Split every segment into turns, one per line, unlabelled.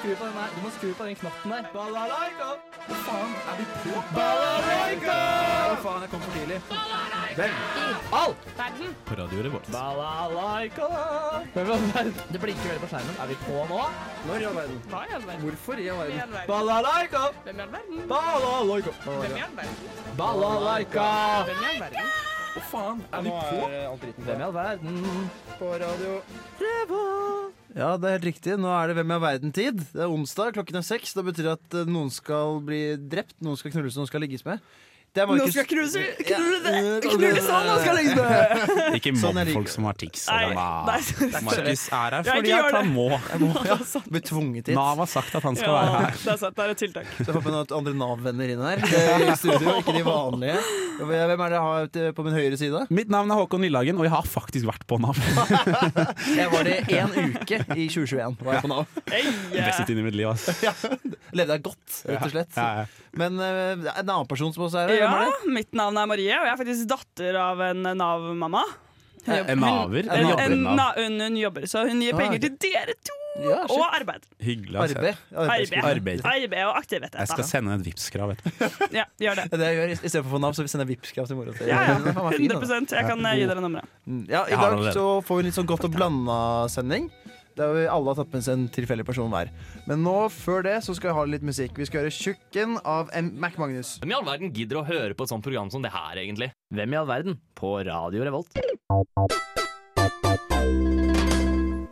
skru på den her. Du må skru på den knappen der.
Balalaika!
Hva faen? Er vi på?
Balalaika! Å faen, jeg kom for tidlig. Hvem?
Alt!
Verden.
På radioen vårt.
Balalaika! Det blinker veldig på skjermen. Er vi på nå?
Når i all verden?
Hva i all verden?
Hvorfor i all
Hvem i all
verden?
verden?
Balalaika!
Hvem i all verden?
Balalaika!
Hvem i all verden?
Balalaika!
Hvem i all verden?
Å faen, er vi på?
Hvem i all verden?
På radio.
Ja, det er helt riktig. Nå er det Hvem er verden-tid. Det er onsdag, klokken er seks. Det betyr at eh, noen skal bli drept, noen skal knulles, noen skal ligges med. Det er Markus-
knuse,
Ja.
sånn, legges med!
Ikke
Sånn
mobb
er det
folk
ikke.
som har tics.
Nei,
Adam.
nei, sorry, sorry.
Markus er her
Jeg ikke
fordi
gjør
at han
det.
må.
Blir tvunget hit.
Nav har sagt at han skal
Ja,
være her.
det er sant. Det er et tiltak.
Så jeg håper noen andre Nav-venner inn her eh, i studio, ikke de vanlige. Hvem er det jeg har til- på min høyre side?
Mitt navn er Håkon Lillehagen, og jeg har faktisk vært på Nav.
Jeg var det én uke i 2021. Var jeg på Nav.
Hey,
Best tiden i mitt liv, ass.
Levde jeg godt, rett og slett.
Ja, ja.
Men eh, det er en annen person som også er her.
ja,
Hvem er det?
mitt navn er Marie, og jeg er faktisk datter av en Nav-mamma. Hun
Eh,
jobber-
En naver?
en
Hun,
jobber
en, na, hun, hun jobber, så hun gir
Ah,
penger
ok.
til dere to!
Ja,
Og
shit.
arbeid.
Hyggelig. ass.
Arbeid.
Arbeid.
Arbeid.
Arbeid og
Jeg skal
aktiviteter.
sende et Vipps-krav etterpå.
Ja, gjør det.
Det er det jeg gjør, I stedet for å få Nav, så sender jeg Vipps-krav til mora til.
Ja, ja.
Den er faen meg fin, da.
100 Jeg kan eh, gi dere nummeret.
Mm, Ja, I
Jeg har
dag
allerede.
så får vi en litt sånn godt og blanda sending. Der vi alle har tatt med seg en tilfeldig person hver. Men nå, før det, så skal vi ha litt musikk. Vi skal høre 'Tjukken' av M Mac Magnus.
Hvem i all verden gidder å høre på et sånt program som det her, egentlig? Hvem i all verden? På Radio Revolt.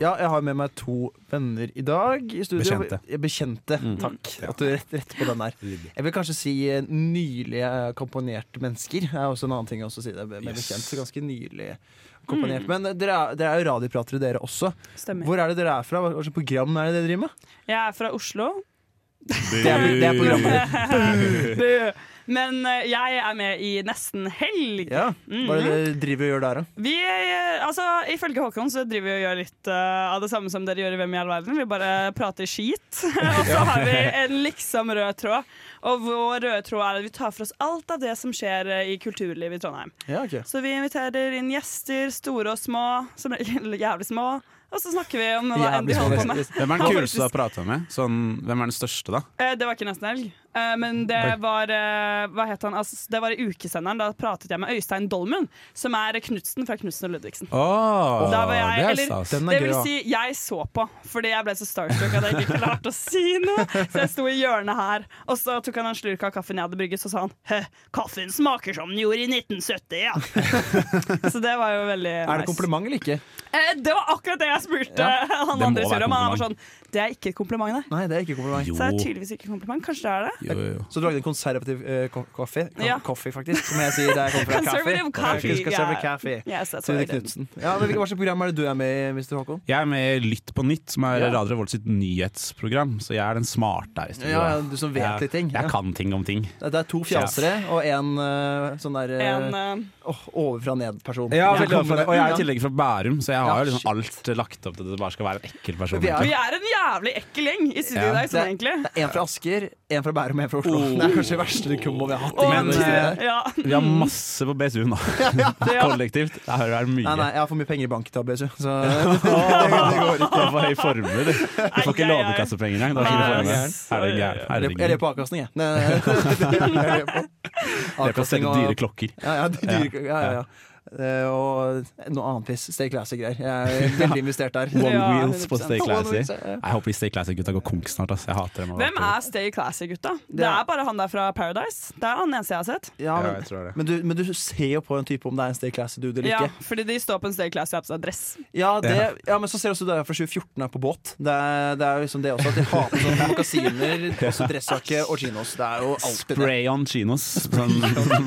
Ja, jeg har med meg to venner i dag i studio.
Bekjente. Mm.
Ja, Bekjente. Takk. At du rett, rett på den der. Jeg vil kanskje si eh, nylig eh, komponerte mennesker. Det er også en annen ting å også si det med
Yes.
bekjent. Så ganske nylig
Mm.
komponert. Men eh, dere er, dere er jo radiopratere, dere også.
Stemmer.
Hvor er det dere er fra? Hva hva slags program er det dere driver med?
Jeg er fra Oslo.
Det er, det er programmet.
Men eh, jeg er med i Nesten helg.
Ja.
Mm.
Hva er det dere driver og gjør der, da?
Vi, eh, altså, Ifølge Håkon så driver vi og gjør litt eh, av det samme som dere gjør i Hvem i all verden. Vi bare prater skit. og så har vi en liksom rød tråd. Og vår røde tråd er at vi tar for oss alt av det som skjer eh, i kulturlivet i Trondheim.
Ja, ok.
Så vi inviterer inn gjester, store og små. Som regel jævlig små. Og så snakker vi om hva enn de holder på med.
Hvem er den kuleste du har prata med? Sånn, hvem er den største, da?
Eh, Det var ikke nesten helg, Eh, men det var eh, Hva het han? Altså, det var i ukesenderen. Da pratet jeg med Øystein Dolmen, som er Knutsen fra Knutsen og Ludvigsen.
Oh,
Da var jeg-
det er
eller-
stas.
Den er
Det
gøy,
vil
da.
si, jeg så på, fordi jeg ble så starstruck at jeg ikke klarte å si noe. Så jeg sto i hjørnet her, og så tok han en slurk av kaffen jeg hadde brygget, så sa han Hø, kaffen smaker som den gjorde i 1970, ja. så det var jo veldig
Er det
nice.
kompliment eller ikke?
Eh, det var akkurat det jeg spurte
Ja,
han
det må
andre
være
i studio om. Han var
kompliment.
sånn Det er ikke et kompliment, nei.
Nei, det er ikke kompliment.
Jo,
Så det er tydeligvis ikke et kompliment. Kanskje det er det?
jo, jo.
Så du lagde en konservativ eh, ko- kaffe, Ka-
Ja.
kaffe, faktisk, som jeg sier der jeg kommer fra.
Conservative
kaffe.
coffee,
Conservative
ja.
coffee.
Yes, that's what
Tune
I did.
Knudsen. Ja, men hvilket- Hva slags program er det du er med i, Mr. Håkon?
Jeg er med i Lytt på nytt, som er
Ja.
Radio Revolt sitt nyhetsprogram. Så jeg er den smarte her i studio.
Ja, ja, du som vet
jeg,
litt ting. Ja.
Jeg kan ting om ting.
Det det er to fjasere og en eh, sånn der eh,
En, eh,
åh, ovenfra og ned-person.
Ja, veldig overfor det. Og jeg er i tillegg fra Bærum, så jeg har
Ja,
jo liksom
shit.
alt lagt opp til at det bare skal være en ekkel person.
Vi er-
egentlig.
Vi er en jævlig ekkel gjeng i studio i
Ja.
dag, sånn egentlig.
Det er en fra Asker, en fra Bærum og en fra
Oh.
Oslo. Det er kanskje det eh, verste kombo vi har hatt.
Og, eh,
i
Men,
denne serien.
ja.
Vi har masse på BSU nå. Kollektivt. Der hører jeg mye.
Nei, nei, jeg har for mye penger i banketabbe, så
Det går ikke. Det er for høy formue, du. Du får
Ai, ai,
ikke
ai.
lånekassepenger engang. Det er
Nei,
ikke formue.
ass.
Er det gæren?
Jeg lever- jeg
Herregud.
lever på avkastning, jeg. Nei, nei, nei. Jeg lever på
Det er på å
avkastning
selge
og-
dyre klokker.
Ja, ja, dyre, ja, ja, ja. Eh, og noe annet piss. Stay classy-greier. Jeg er veldig investert der.
One
Ja,
wheels på Stay
100%.
Classy.
One Wheels, ja.
Jeg håper de Stay Classy-gutta går konk snart. Ass. Jeg hater dem.
Hvem er Stay Classy, gutta? Det
er-
er bare han der fra Paradise. Det er han eneste jeg har sett.
Ja,
Ja,
men,
jeg tror det.
men, du, men du ser jo på en type om det er en stay classy-dude eller
Ja,
ikke.
fordi de står på en Stay Classy på seg dress.
Ja, det, ja, men så ser du også du er fra 2014 er på båt. Det er, det er liksom det også. At de hater sånne mokasiner, også dressjakke og chinos. Det er jo alltid det.
Spray on chinos. Sånn,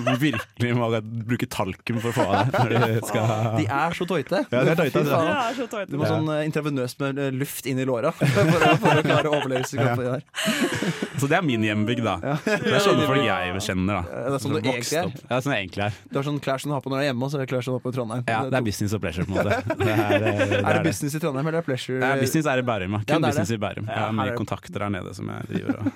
virkelig må bruke talkum for å få av det. Når du skal...
De er så tøyte.
Ja, de er tøyte,
Fy
ja.
faen.
Ja, så
Du må
tøyt.
Ja.
sånn eh, intravenøst med eh, luft inn i låra for, å- for å klare å overleve. så godt det er.
Så det er min hjembygd, da. Det er sånne folk jeg kjenner. da
Ja, det er sånn
Som
du egentlig
vokste
er.
opp. Ja, sånn jeg egentlig er.
Du har sånn klær som du har på når du er hjemme, og så er det klær som du har på i Trondheim.
Ja, det
er,
er business og pleasure, på en måte. Det er, eh, det er,
det
det.
business i Trondheim eller er det pleasure?
Det er business er i Bærum. Ja.
Ja,
Kun
det er
business
det.
i Bærum.
Ja,
Jeg
her
har
er
mye
det.
kontakter der nede som jeg driver og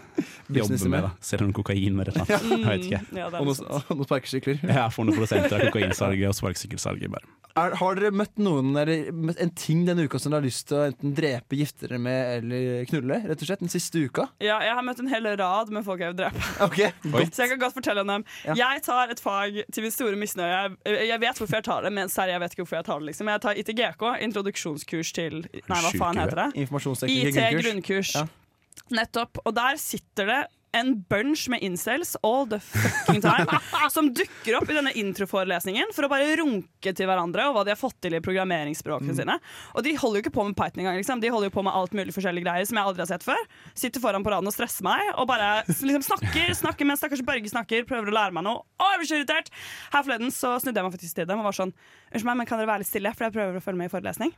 business
jobbe med.
med.
da Selger noe kokain eller et eller annet. Jeg vet ikke.
Mm, ja, det er
Og noen,
noe sånt.
og noen sparkesykler.
Jeg får noen prosenter av kokainsalget og sparkesykkelsalget. bare.
Er, har dere møtt noen eller møtt en ting denne uka som dere har lyst til å enten drepe, gifte dere med eller knulle? Rett og slett, Den siste uka?
Ja, jeg har møtt en hel rad med folk jeg vil drepe.
Ok, godt.
Så jeg kan godt fortelle om dem.
Ja.
Jeg tar et fag til min store misnøye. Jeg jeg vet hvorfor jeg tar det, men særlig jeg vet ikke hvorfor jeg tar det. liksom Jeg tar ITGK, introduksjonskurs til Nei, hva
sjuk
faen
i
heter det? IT
Informasjonsteknikk i altså grunnkurs.
grunnkurs.
Ja.
Nettopp. Og der sitter det en bunch med incels all the fucking time som dukker opp i denne introforelesningen for å bare runke til hverandre og hva de har fått til i programmeringsspråkene sine. Og de holder jo ikke på med Python engang. Liksom. De holder jo på med alt mulig forskjellige greier som jeg aldri har sett før. Sitter foran på raden og stresser meg og bare liksom snakker snakker mens stakkars Børge snakker, prøver å lære meg noe. Å, jeg blir så irritert! Her forleden så snudde jeg meg faktisk til dem og var sånn Unnskyld meg, men kan dere være litt stille, for jeg prøver å følge med i forelesning.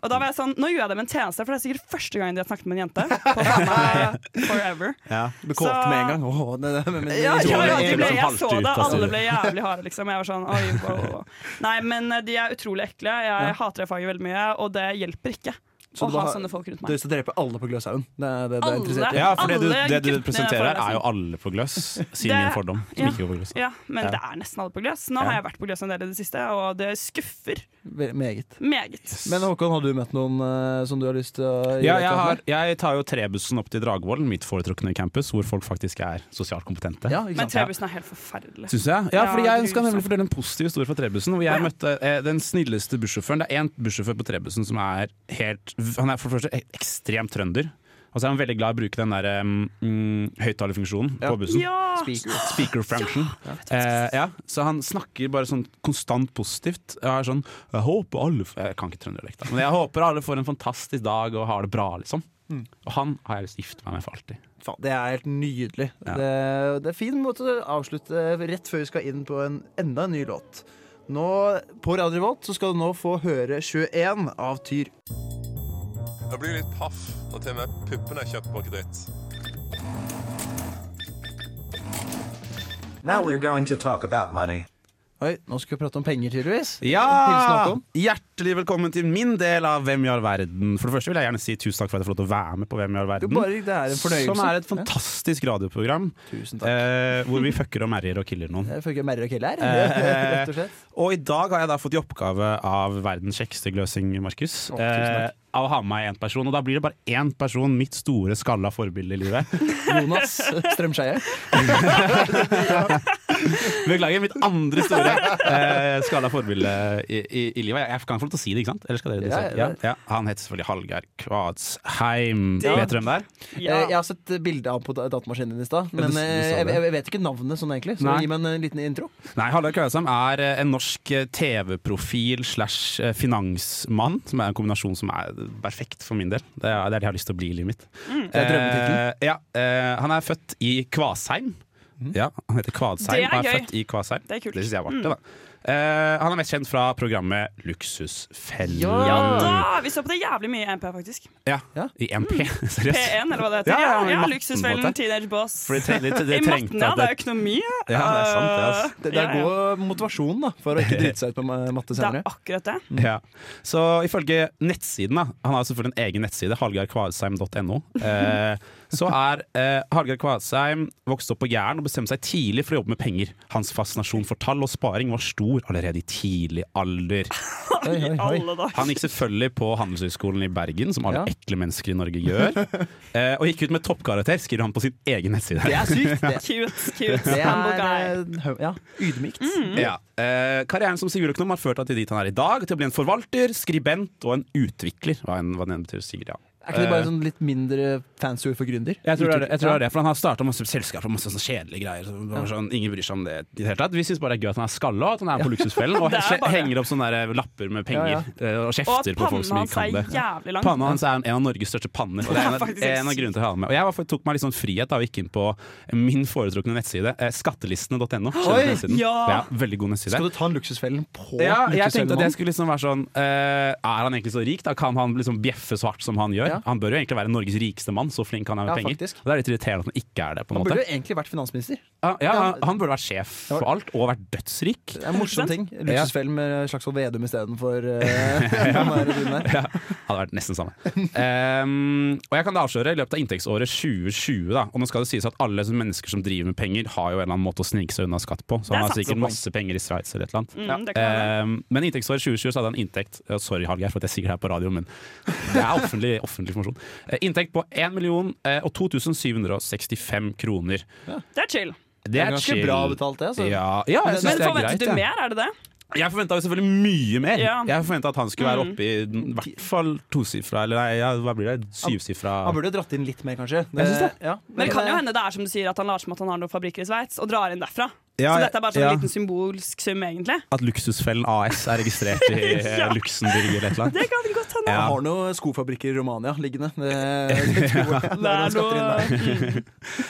Og da var jeg sånn, nå gjør jeg dem en tjeneste, for det er sikkert første gangen de har snakket med en jente. På faen meg forever.
Ja, du kålte med en gang. Åh, nei, nei, men- men-
Ja, ja, ja, de ble, jeg så det,
Som
liksom
falt ut av
alle ble jævlig harde, liksom. Jeg var sånn, oi, wow, wow. Nei, men eh, de er utrolig ekle. Jeg hater det faget veldig mye, og det hjelper ikke
Så
å
du bare
ha
har-
sånne folk rundt
Du har
meg.
lyst til å drepe alle på Gløshaugen? Det er det du er
Alle?
interessert i?
Ja, for det du,
Alle
det du
guttene
presenterer,
får altså.
er jo alle på gløss, sier
Det-
min fordom. Som
ja.
ikke går på gløss.
Ja, men
Ja.
det er nesten alle på gløs. Nå har jeg vært på gløs en del i det siste, og det skuffer
Ve- Meget.
meget.
Men Håkon, har du møtt noen eh, som du har lyst til å
Ja,
gjøre et
jeg,
eller
har,
annet
jeg tar jo trebussen opp til Dragvoll, mitt foretrukne campus, hvor folk faktisk er sosialt kompetente.
med? Ja, ikke
Men
sant?
trebussen er helt forferdelig.
Synes jeg? Ja,
Ja,
fordi jeg
grusomt.
skal nemlig fortelle en positiv historie fra Trebussen. Hvor
Å,
jeg
ja.
møtte eh, den snilleste bussjåføren. Det er én bussjåfør på Trebussen som er helt Han er for det første ek- ekstremt trønder. Og så er han veldig glad i å bruke den der mm, høyttalerfunksjonen
Ja.
på bussen.
Ja!
Speaker.
Speaker function. Eh, ja. Så han snakker bare sånn konstant positivt. Jeg er sånn Jeg håper alle f- Jeg kan ikke trønderdialekt, da. Men jeg håper alle får en fantastisk dag og har det bra, liksom.
Mm.
Og han har jeg lyst til å gifte meg med for alltid.
Faen, det er helt nydelig.
Ja.
Det, det er fin måte å avslutte rett før vi skal inn på en enda en ny låt. Nå, på Radio Revolt så skal du nå få høre 21 av Tyr.
Jeg blir litt paff når til og med puppene er kjøpt på kreditt.
Now we're going to talk about money.
Oi, nå skal vi prate om penger, tydeligvis. Hilsen
Ja!
Håkon.
Hjertelig velkommen til min del av Hvem i all verden. For det første vil jeg gjerne si tusen takk for at jeg får lov til å være med på Hvem i all
Du,
verden.
bare, det er en fornøyelse.
Som er et fantastisk radioprogram
Ja, tusen takk.
eh, hvor vi fucker og merrier og killer noen.
Jeg føler ikke Merre og Kelle her.
Eh,
Rett og slett.
Og i dag har jeg da fått i oppgave av verdens kjekkeste gløsing, Markus. eh,
Å, tusen takk.
av å ha med meg én person. Og da blir det bare én person, mitt store skalla forbilde i livet.
Jonas Strømskeie.
Beklager, mitt andre store eh, skalla forbilde i, i, i livet. Jeg kan få lov til å si det, ikke sant? Eller skal dere
Ja,
det?
ja.
Ja, ja. Han heter selvfølgelig Hallgeir Kvadsheim.
Ja.
Vet dere hvem det er?
Eh, Jeg
Ja.
har sett bilde av ham på da- datamaskinen din i stad,
du-
men
du sa
eh, jeg,
det.
jeg vet ikke navnet sånn egentlig. Så
Nei.
gi meg en eh, liten intro.
Nei, Hallgeir Kvadsheim er eh, en norsk eh, TV-profil slash eh, finansmann, som er en kombinasjon som er perfekt for min del. Det er det, er det jeg har lyst til å bli i livet mitt.
Det er drømmetittelen.
Eh, ja, eh, han er født i Kvasheim. Ja, han heter Kvadsheim
Det er
og er
gøy.
født i Kvasheim.
Det er kult.
synes jeg var artig, da. Eh, han er mest kjent fra programmet Luksusfellen.
Ja.
ja da! Vi så på det jævlig mye i MP, faktisk.
Ja,
Ja.
I MP,
Mm.
seriøst.
P1, eller hva det heter.
Ja,
Ja, ja,
ja, i matten, på en
Luksusfellen,
måte.
Teenage Boss.
For de tre- de- de- de
I
trengte
matten, ja.
at
Det er økonoss.
det- Ja, det er sant, det, ass.
Det, det er
Ja, ja.
god motivasjon da for å ikke drite seg ut på ma- matte
Det er
senere.
akkurat det.
Ja. Så ifølge nettsiden, da, han har selvfølgelig en egen nettside, hallgeirkvadsheim.no, eh, så er eh, Hallgeir Kvadsheim vokst opp på Jæren og bestemte seg tidlig for å jobbe med penger. Hans fascinasjon for tall og sparing var stor allerede i tidlig alder.
Oi, oi, oi.
Alle dager.
Han gikk selvfølgelig på Handelshøyskolen i Bergen, som alle
Ja.
ekle mennesker i Norge gjør. Eh, og gikk ut med toppkarakter, skriver han på sin egen nettside.
Det er sykt. Det,
Cute, cute.
det
Humble guy. Mm.
er eh, hø- ja, ydmykt.
Ja. Eh, karrieren som siviløkonom har ført han til dit han er i dag, til å bli en forvalter, skribent og en utvikler. Hva enn hva det enn betyr, sikkert, ja.
Er ikke det bare sånn litt mindre fancy ord for gründer?
Eh. Jeg tror, det er, det. jeg tror det er det, for Han har starta masse selskaper og masse sånne kjedelige greier. Så bare sånn, ingen bryr seg om det i det hele tatt. Vi syns bare det er gøy at han er skalla og at han er på luksusfellen og
Det er bare-
henger opp sånne der eh, lapper med penger
Ja,
eh, og
Og at
kjefter på folk
pannen
som ikke
hans er
kan det.
jævlig lang.
Panna hans er en av Norges største panner. Og det er en,
Ja,
av-
faktisk.
en av grunnene til å ha den med. Og jeg var, for- tok meg litt sånn frihet da og gikk inn på min foretrukne nettside, eh, skattelistene.no.
Oi,
Kjenner du nettsiden?
ja.
Ja, veldig god nettside.
Skal du ta en luksusfellen på
Ja, jeg tenkte at
luksusfellen?
jeg skulle liksom være sånn eh, Er han egentlig så rik? da? Kan han liksom bjeffe så hardt som han gjør?
Ja. Ja.
Han bør jo egentlig være Norges rikeste mann, så flink han er med
Ja,
penger.
faktisk.
Og Det er litt irriterende at han ikke er det. på en
Han
måte
burde jo egentlig vært finansminister.
ja, ja, han- Han burde vært sjef for alt, og vært dødsrik.
Det er en morsom ting. Luksusfellen med Slagsvold Vedum istedenfor uh, han der duden der.
Ja, hadde vært nesten samme. Ehm, og jeg kan da avsløre, i løpet av inntektsåret 2020, da, og nå skal det sies at alle som mennesker som driver med penger, har jo en eller annen måte å snike seg unna skatt på,
Det er
så han har
sant.
sikkert masse penger i Sveits eller et eller annet.
Mm, det kan være.
Ehm, men inntektsåret 2020 så hadde han inntekt ja, Sorry, Hallgeir, for at jeg sier det her på radio, men det er offentlig, offentlig informasjon. Eh, inntekt på 1 million eh, og 2765 kroner.
Det er chill.
Det
Det
er
er ganske
chill.
bra betalt, det. Altså.
Ja, ja, jeg
Men
syns det er greit.
forventet du
jeg.
mer, er det det?
Jeg forventa jo selvfølgelig mye mer.
Ja. Mm.
Jeg forventa at han skulle være oppe i den- i hvert fall tosifra, eller nei, ja, hva blir det?
Han
Syvsifra.
burde jo dratt inn litt mer, kanskje.
Jeg synes det.
Ja.
Men det kan jo hende det er som du sier, at han later som at han har noen fabrikker i Sveits, og drar inn derfra.
Ja,
så dette er bare sånn
ja.
liten symbolsk sum, egentlig.
At Luksusfellen AS er registrert i eh, Luxembourg eller et eller annet.
Det kan godt hende.
Han
Ja.
har noen skofabrikker i Romania liggende. Det, det, tror jeg.
Det
han
er
skatter inn der.
noe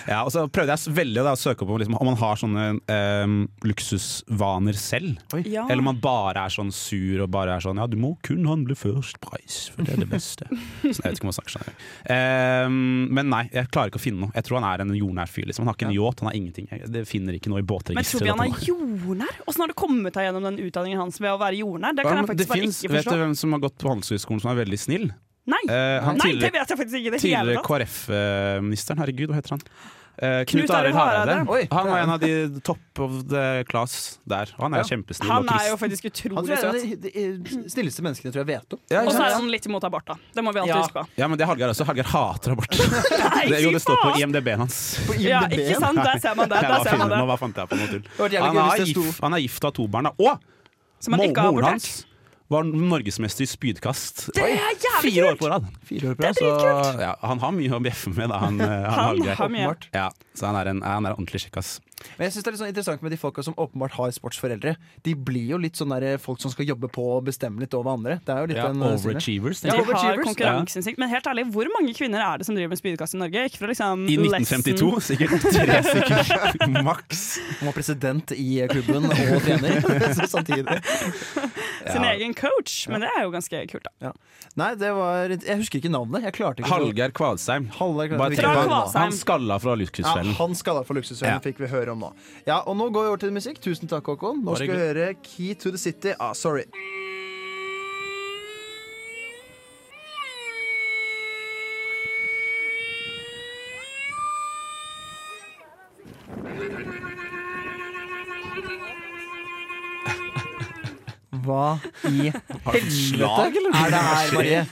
Ja, og så prøvde jeg s- veldig da, å søke opp om, liksom, om man har sånne eh, luksusvaner selv.
ja.
Eller om man bare er sånn sur og bare er sånn Ja, du må kun handle først price, for det er det beste. Så jeg vet ikke om han snakker sånn. Eh, men nei, jeg klarer ikke å finne noe. Jeg tror han er en jordnær fyr. Liksom. Han har ikke en yacht, han har ingenting. Jeg det finner ikke noe i
Men tror
båtregisteret.
vi han
at
er jordnær? Åssen har du kommet deg gjennom den utdanningen hans ved å være jordnær? Det
Ja,
kan
men
jeg faktisk bare
finnes-
ikke
Vet du
forstå.
hvem som har gått på Handelshøyskolen som er veldig snill?
Nei.
Eh, han
Nei, det
tidligere,
vet jeg faktisk ikke i det hele
tidligere
tatt.
KrF-ministeren, herregud, hva heter han? Eh,
Knut Arild Hareide.
Oi,
Han
det er-
var en av de top of the class der. Og Han er
Ja.
kjempesnill og
Han er
kristen.
jo faktisk
Han tror
utrolig
jeg er
søt.
en av de de snilleste menneskene jeg tror jeg vet om.
Ja,
Og
ikke
så er
sant?
han litt imot abort, da. Det må vi alltid
Ja.
huske på.
ja, men det er Hallgeir også. Hallgeir hater abort.
Nei,
det, jo,
fy
det står på
faen!
IMDb-en hans.
Ja, ikke sant? Der ser man det.
Nei,
Der
hva
ser man
finner-
det.
nå, hva fant jeg på noe tull?
hadde vært jævlig
Han
gøy
er,
hvis det sto-
gift, han er gift og har to barn. da. Og
Som han ikke har
moren
abortert.
hans var norgesmester i spydkast.
Det er jævlig
Fire år
kult!
altså, på rad.
Fire år på
Det
rad.
er dritkult!
Ja, han har mye å bjeffe med, da. Han, eh, han,
Han
Hallgeir.
har mye.
Ja, så han er en, han er en ordentlig kjekkas.
Men jeg synes det er litt sånn interessant med de folka som åpenbart har sportsforeldre. De blir jo litt sånn der folk som skal jobbe på og bestemme litt over andre. Det er jo litt den eh, stilen.
overachievers.
De
Ja,
har
overachievers.
konkurranseinstinkt. Men helt ærlig, hvor mange kvinner er det som driver med spydkast i Norge? Ikke fra liksom
I
Lesson-
1952, sikkert. Tre stykker maks.
Han var president i eh, klubben og trener så samtidig.
sin egen coach, men det er jo ganske kult, da.
Nei, det var Jeg husker ikke navnet. Jeg klarte ikke
Hallgeir Kvalsheim.
Hallgeir-
Bare
Fra
tenk på han.
Kvalsheim.
Han skalla fra
Ja,
Luksusfellen.
han skada for luksusøren, fikk vi høre om nå. Ja, og Nå går vi over til musikk. Tusen takk, Håkon. Nå
Bare
skal vi høre Key to the City. Ah, sorry. Hva i helvete er det her, Marie?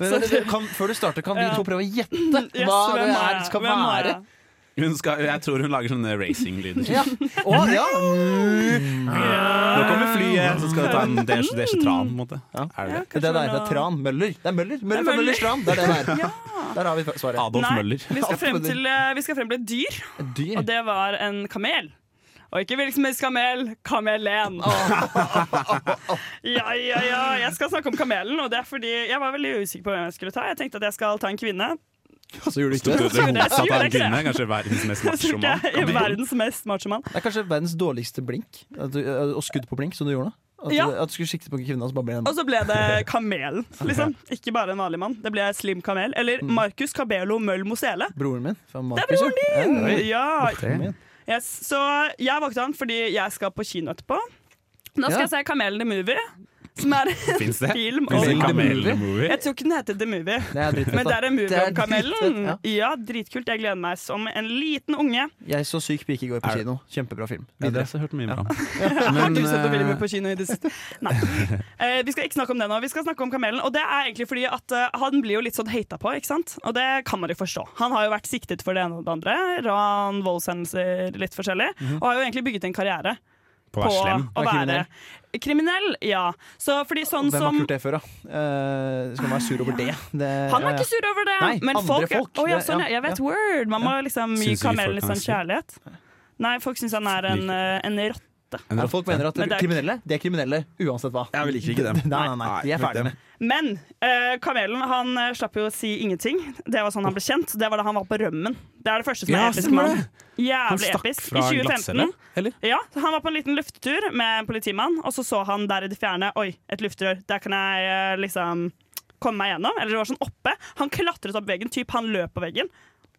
Men, men, du kan, før du starter, kan vi to prøve å gjette
Yes,
hva
hvem
det
er
er
jeg?
skal
Hvem er
være?
jeg?
Hun skal, jeg tror hun lager sånne racinglyder.
Ja. Å, ja.
Nå kommer flyet, så skal det ta en desje desje tran. på en måte. Er det det?
Det der det er Tran. Møller. Det er Møller. Møller fra
Møller.
Møllerstrand. Det er det der. Der har vi svaret.
Adolf
Nei,
Møller.
vi skal frem til, eh, vi skal frem til et dyr,
Et dyr.
og det var en kamel. Og ikke hvilken som helst kamel kamelen. Ja, ja, ja. Jeg skal snakke om kamelen, og det er fordi jeg var veldig usikker på hvem jeg skulle ta. Jeg tenkte at jeg skal ta en kvinne.
Og så gjorde du
Sto
ikke det.
det det motsatte av
Gjorde
en
ikke det.
kvinne? Kanskje verdens mest
Jeg tror
macho
ikke jeg er
mann?
verdens mest macho mann.
Det er kanskje verdens dårligste blink. At du, og skudd på blink, som du gjorde nå. At,
Ja.
du, at du skulle sikte på kvinna, så bare ble det
Og så ble det kamelen, liksom. Ikke bare en vanlig mann. Det ble Slim Kamel. Eller
Mm.
Marcus Cabello Møll Mosele.
broren min. Fra
Det er
Marcus,
broren din! Ja.
din!
Yes. Så jeg valgte han fordi jeg skal på kino etterpå. Da skal
Ja.
jeg se Kamelen the Movie, som er en
Fins det?
film
Fins det
om
en kamelemovie?
Jeg tror ikke den heter The Movie.
Det er dritfett.
Men det
da.
er en movie
Det er
om kamelen.
dritfett,
Ja, dritkult. Jeg gleder meg som en liten unge.
Jeg så Syk pike i går på
Er det-
kino. Kjempebra film.
Ja, eh, det
Videre.
har jeg hørt mye bra om.
Har du sett noen filmer
eh,
på kino i det siste? Nei. Eh, vi skal ikke snakke om det nå. Vi skal snakke om kamelen. Og det er egentlig fordi at eh, han blir jo litt sånn hata på, ikke sant? Og det kan man jo forstå. Han har jo vært siktet for det ene og det andre. Ran, voldshendelser, litt forskjellig.
Mhm.
Og har jo egentlig bygget en karriere
På
på
å være slem.
å
Være
være kriminell. Ja. Så fordi sånn
Hvem har
som
ikke gjort det før, da? Eh, skal man være sur over det? det
han var ikke sur over det,
Nei,
men
andre
folk,
folk.
Å, ja,
Det-
sånn,
ja,
ja, jeg vet
ja.
word. Man må liksom gi
Syns ikke
kamelen
folk
litt
han
sånn kjærlighet. Nei, folk syns han er en, eh, en rotte.
Ja, folk mener at
Men det er-
kriminelle de er kriminelle uansett hva.
Ja, vi liker ikke dem.
Nei, nei, nei, De er ferdige med
Men eh, kamelen han eh, slapp jo å si ingenting. Det var sånn han ble kjent. Det var da han var på rømmen. Det er det første som er
Ja,
episk
stemmer
med han.
det. Han
Jævlig
stakk
episk.
fra
I
en glattcelle,
2015.
eller?
Ja, han var på en liten luftetur med en politimann, og så så han der i det fjerne Oi, et luftrør. Der kan jeg eh, liksom komme meg gjennom. Eller det var sånn oppe Han klatret opp veggen, typ han løp på veggen.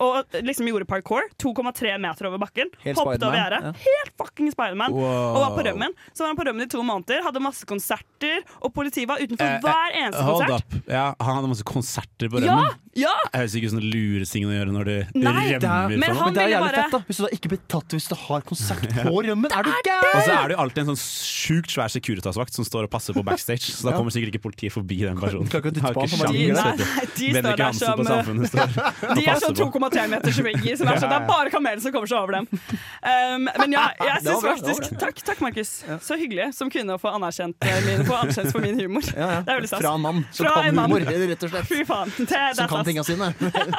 Og liksom gjorde parkour. 2,3 meter over bakken.
Helt
hoppet over
Spiderman,
gjerdet.
ja.
Helt fucking Spiderman. Og
Wow.
var på rømmen. Så var han på rømmen i to måneder, hadde masse konserter, og politiet var utenfor
Eh, eh,
hver eneste
Hold
konsert.
up. Ja, han hadde masse konserter på
Ja!
rømmen.
ja!
Jeg høres ikke ut som den lureste tingen å gjøre når du
Nei,
rømmer
det
er-
fra
Men
men han
noe.
det er
ville
jævlig
bare-
fett, da. Hvis du da ikke blir tatt hvis du har konsert på rømmen, er du
Og
gæren?
så er det jo alltid en sånn sjukt svær Securitas-vakt som står og passer på backstage, så da
Ja.
kommer sikkert ikke politiet forbi den personen.
Kan ikke titte
Har
på han,
ikke
han bare
De,
Ingen
sjans,
nei,
vet du.
nei, de
Bendik
står der
Hansen på
som eh,
Samfunnet står og
De er
passer
sånn
på.
2,3 meters vegger. Som er sånn, det er bare kamelen som kommer seg over dem. Um, men ja, jeg
Det var
synes
bra, det var
faktisk Takk, takk Markus. Så hyggelig som kvinne å få anerkjent, eh, min, få anerkjent for min humor.
Ja, ja.
Det er veldig
Fra
stas.
en mann som
Fra en
kan
mann.
humor, rett og slett.
Fy faen. Det, det er
Som kan altså.
stas.
tinga sine.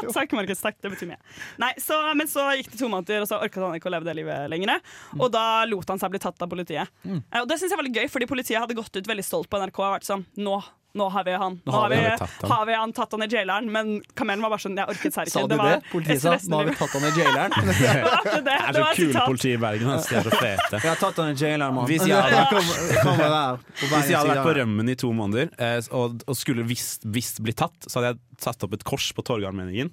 Takk, Markus. Takk, det betyr mye. Nei, så, men så gikk det to måneder, og så orket han ikke å leve det livet lenger. Og da lot han seg bli tatt av politiet. Eh, Og det syns jeg var litt gøy, fordi politiet hadde gått ut veldig stolt på NRK og vært sånn Nå, nå har vi han. Nå har vi,
tatt han."
har vi han tatt han i jaileren. Men kamelen var bare sånn Jeg orket serr ikke.
Sa du det?
var
Politiet sa
SOS-en
nå har vi
livet."
tatt han i jaileren.
Det var akkurat det.
Det er
Det
så
var et
kule
sitat.
politi i Bergen, ass. De er så fete.
Jeg har tatt han i jaileren, mann.
Hvis jeg hadde- Hvis
Hvis
jeg hadde vært på rømmen i to måneder eh, og, og skulle visst, visst bli tatt, så hadde jeg satt opp et kors på Torgallmenningen.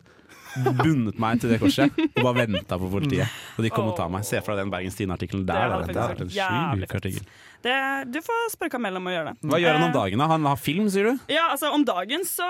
Bundet meg til det korset og bare venta på politiet. Og de kom og ta meg. Se for deg den Bergens Tidende-artikkelen der.
hadde
da.
faktisk
Det er
vært
en sjuk
jævlig fett.
artikkel.
Det, du får spørre Kamel om å gjøre det.
Hva gjør han om
Eh,
dagen? da? Han har film, sier du?
Ja, altså Om dagen så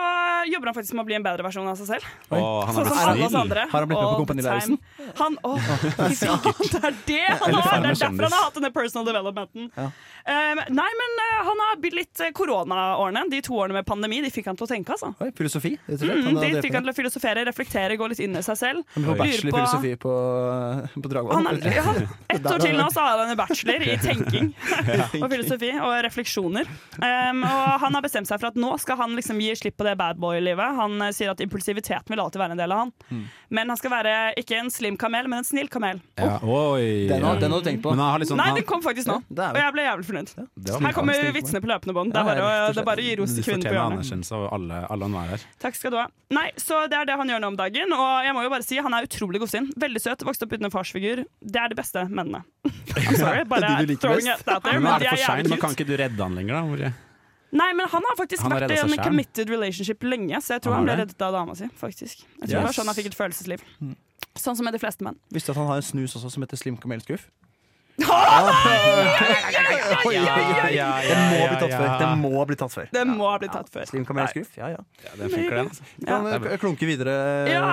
jobber han faktisk med å bli en bedre versjon av seg selv.
Å,
Sånn
han er
som
blitt
alle oss
snill.
andre.
Har han blitt med på
all
Kompani
the
Lauritzen?
time. Han, å, fy faen, det er det han har! Det er
Farmen
derfor han har hatt denne personal developmenten.
Ja.
Um, nei, men eh, han har blitt litt eh, koronaårene, de to årene med pandemi, de fikk han til å tenke, altså.
Oi, filosofi, rett og slett.
Mm,
Han
de
hadde
fikk han til å filosofere, reflektere, gå litt inn i seg selv.
Han ble på bachelor i
Lurer på-
filosofi på, på Dragvoll.
Han er, ja, ett år til nå så har han en bachelor i tenking og filosofi og refleksjoner. Um, og han har bestemt seg for at nå skal han liksom gi slipp på det bad boy-livet. Han eh, sier at impulsiviteten vil alltid være en del av han. Men han skal være ikke en slim kamel, men en snill kamel.
Ja, oi.
Den har den har du tenkt på.
Men han har litt sånn
Nei,
han,
den kom faktisk nå,
det er
og
vel-
jeg ble jævlig fornøyd.
det var
Her kommer
fantastisk.
vitsene på løpende bånd. Det
Ja,
er bare,
ja,
å-
rett og
det er bare å gi ros
Du
til kvinnen på
fortjener
hjørnet.
anerkjennelse av alle, alle og enhver her.
Takk skal du ha. Nei, så det er det han gjør nå om dagen. Og jeg må jo bare si, han er utrolig godsinn. Veldig søt. Vokste opp uten en farsfigur. Det er de beste mennene. I'm Sorry, bare
de du liker
throwing
best.
it out there.
Men
Men
er
de
det
er
for seint?
jævlig
Kan
cute.
ikke du redde han lenger, da? Marie?
Nei, men han har faktisk
Han har
vært i
reddet
en
seg selv.
committed relationship lenge, så jeg tror han,
Han
ble
har det?
reddet av dama si, faktisk. Jeg tror det var
Yes. Hmm.
sånn han fikk et følelsesliv. Sånn som med de fleste menn.
Visste du at han har en snus også som heter Slim Kamelskuff? Den må bli tatt før. Den må bli tatt før.
Det må ha blitt tatt før.
Slim Kamelskuff, ja ja.
Ja, den funker, den. altså.
Ja.
Kan eh, klunke videre.
Ja,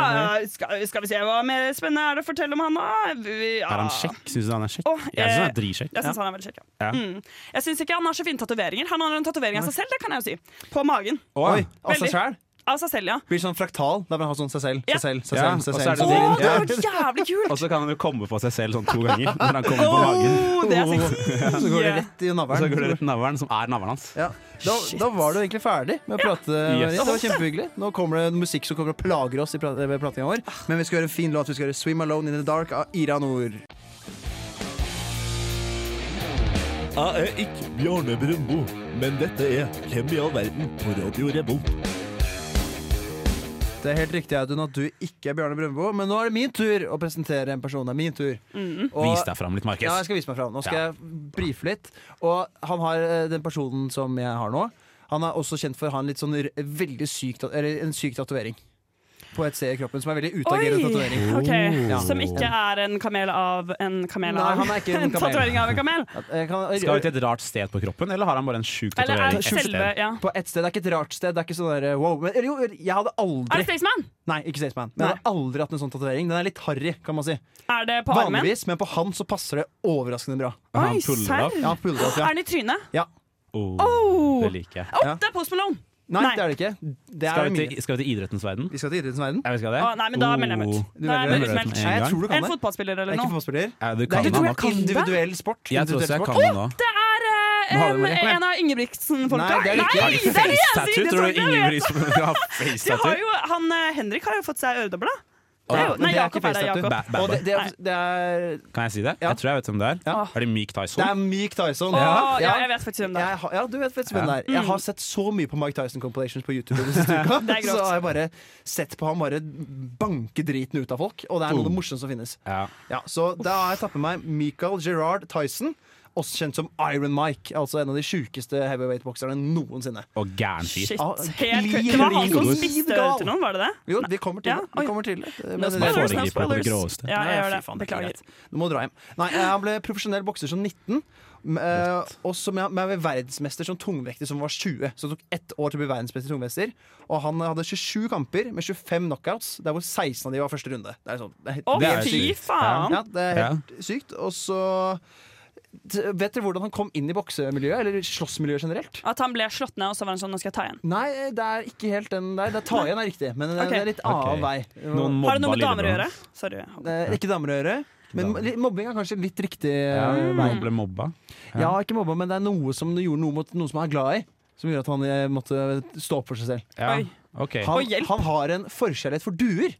skal, skal vi se hva mer spennende er det å fortelle om han, da? Vi- Ja.
Er han kjekk? Syns du han er kjekk?
Åh,
Jeg syns han
eh,
er dritsjekk.
Jeg syns han er veldig kjekk, ja.
Ja.
Mm. Jeg syns ikke han har så fine tatoveringer. Han har en tatovering av seg selv, det kan jeg jo si. På magen.
Oi, av seg
Veldig.
sjæl?
Av seg selv, ja.
Blir sånn fraktal. Der vil han ha sånn seg selv,
Ja.
seg selv, seg
Ja,
selv. seg
og så
selv.
er det
Å,
seg
sånn-
selv. Ja.
det hadde vært jævlig kult!
Og så kan han jo komme på seg selv sånn to ganger når han kommer på magen.
Åh, det er
Og så går det
sexy.
rett i
Og så går det
navlen.
rett navlen, som er navlen hans.
Ja. Da, da var du egentlig ferdig med å prate. Ja.
Yes.
det var Kjempehyggelig. Nå kommer det musikk som kommer og plager oss i pra- ved pratinga vår.
Ah.
Men vi skal gjøre en fin låt. Vi skal gjøre 'Swim Alone in the Dark' av Ira Nord.
Jeg er ikke Bjarne Brøndbo, men dette er Hvem i all verden på Radio Revolt.
Det er helt riktig Audun, at du ikke er Bjarne Brøndbo, men nå er det min tur å presentere en person. Det er min tur.
Mm.
Og-
Vis deg fram litt,
Ja, jeg
Markus.
skal vise meg fram. Nå skal
Ja.
jeg brife litt. Og han har eh, den personen som jeg har nå, han er også kjent for å ha en litt sånn r- veldig syk, tat- eller en syk tatovering. På et sted i kroppen som er veldig utagerende
Oi!
tatovering.
Ok,
Ja.
Som ikke er en kamel av en kamel
Nei,
av
han er ikke en kamel.
tatovering av en kamel.
At jeg eh, kan-
Skal vi til et rart sted på kroppen, eller har han bare en sjuk
Eller er
tatovering?
det
Skjult
selve ja.
På ett sted. Det er ikke et rart sted. Det er ikke sånn der, eh, wow. Men, eller jo, jeg hadde
Er det
aldri
Staysman?
Nei, ikke Staysman. Men jeg hadde aldri hatt en sånn tatovering. Den er litt harry, kan man si.
Er det på armen?
Vanligvis, men på han så passer det overraskende bra.
Oi,
Han puller det opp.
serr!
Ja, han puller det opp,
Er
ja.
den i trynet?
Oh,
Oh.
det liker jeg.
Å,
Ja.
det er Post Malone!
Nei,
Nei.
det er det ikke. Det er
Skal vi
mine.
til, skal vi til idrettens verden?
Vi skal til idrettens verden.
Ja, vi skal det. Oh.
Å, nei, men da melder jeg meg ut.
Oh. Du
Da er
melder deg
jeg
ut
utmeldt.
med en
Nei, jeg
gang.
tror du kan
En
det.
fotballspiller
Det
eller
er ikke
noe.
fotballspiller.
Ja, du
Det
kan
er
han
tror
nok.
jeg kan det.
individuell sport.
Jeg tror også jeg kan
Individuell
den òg.
Det er eh,
Nå har du
en,
det, Marie.
en av Ingebrigtsen-folka.
Nei, det er det ikke.
Nei,
Har de
det er det jeg
Tattoo,
sier!
tror du
Det er
Ingrid som har face
De har
tattoo?
jo, han, eh, Henrik har jo fått seg øredobla.
sport.
Nei,
Ja, men
nei,
det er
Jakob
ikke
er det,
face tattoo.
Jakob.
Ba- ba-
Og det, det,
Nei.
er, det, er,
Kan jeg si det?
Ja.
Jeg tror jeg vet hvem det er.
Ja.
Er det Meek
det
Tyson?
er Meek Tyson.
Å,
Ja,
ja, jeg vet faktisk hvem det er. Mm.
Jeg har, ja, du vet faktisk hvem det
Ja.
er. Jeg har sett så mye på Mike Tyson compilations på YouTube. Den siste uka,
Det er grovt.
så har jeg bare sett på han bare banke driten ut av folk. Og det er noe av det morsomste som finnes.
Ja.
Ja, så da har jeg tatt med meg Michael Gerard Tyson. også kjent som Iron Mike. Altså en av de sjukeste heavyweight-bokserne noensinne.
Og gæren fyr.
Shit.
Ah,
Helt
klin-
kødd. Det var han som
klin
spiste
gal.
øl til noen, var det det?
Jo, vi kommer til
Ja,
det. Vi
oi.
kommer til det. Men
No
det-
spoilers, no
foregriper på det
spoilers.
groveste.
Ja, jeg
Nei,
gjør
fy
det.
faen, det er ikke
Beklager.
greit. Du må dra hjem. Nei, eh, han ble profesjonell bokser som 19. m- eh, og som jeg, men jeg ble verdensmester som tungvekter som var 20. Så det tok ett år til å bli verdensmester i tungvekter. Og han eh, hadde 27 kamper med 25 knockouts, der hvor 16 av de var første runde. Det er sånn, det er helt,
Å,
Det er
fy
sykt.
faen!
ja, det er helt sykt. Og så t- Vet dere hvordan han kom inn i boksemiljøet? Eller slåssmiljøet generelt?
At han ble slått ned, og så var han sånn Nå skal jeg ta igjen.
Nei, det er ikke helt den der. Det er ta igjen er riktig, men det er,
Ok.
det er litt annen
Ok.
vei.
Noen
Har det noe
mobba
med damer å
lillebror.
gjøre? Sorry. Håkon.
Eh, ikke damer å gjøre. Men
Damer.
li- mobbing er kanskje litt riktig
Ja,
eh, vei.
han ble mobba.
Ja, ikke mobba, men det er noe som gjorde noe mot noen som han er glad i. Som gjorde at han eh, måtte stå opp for seg selv.
Ja.
Oi.
ok.
Og
Han,
hjelp.
han har en forkjærlighet for duer.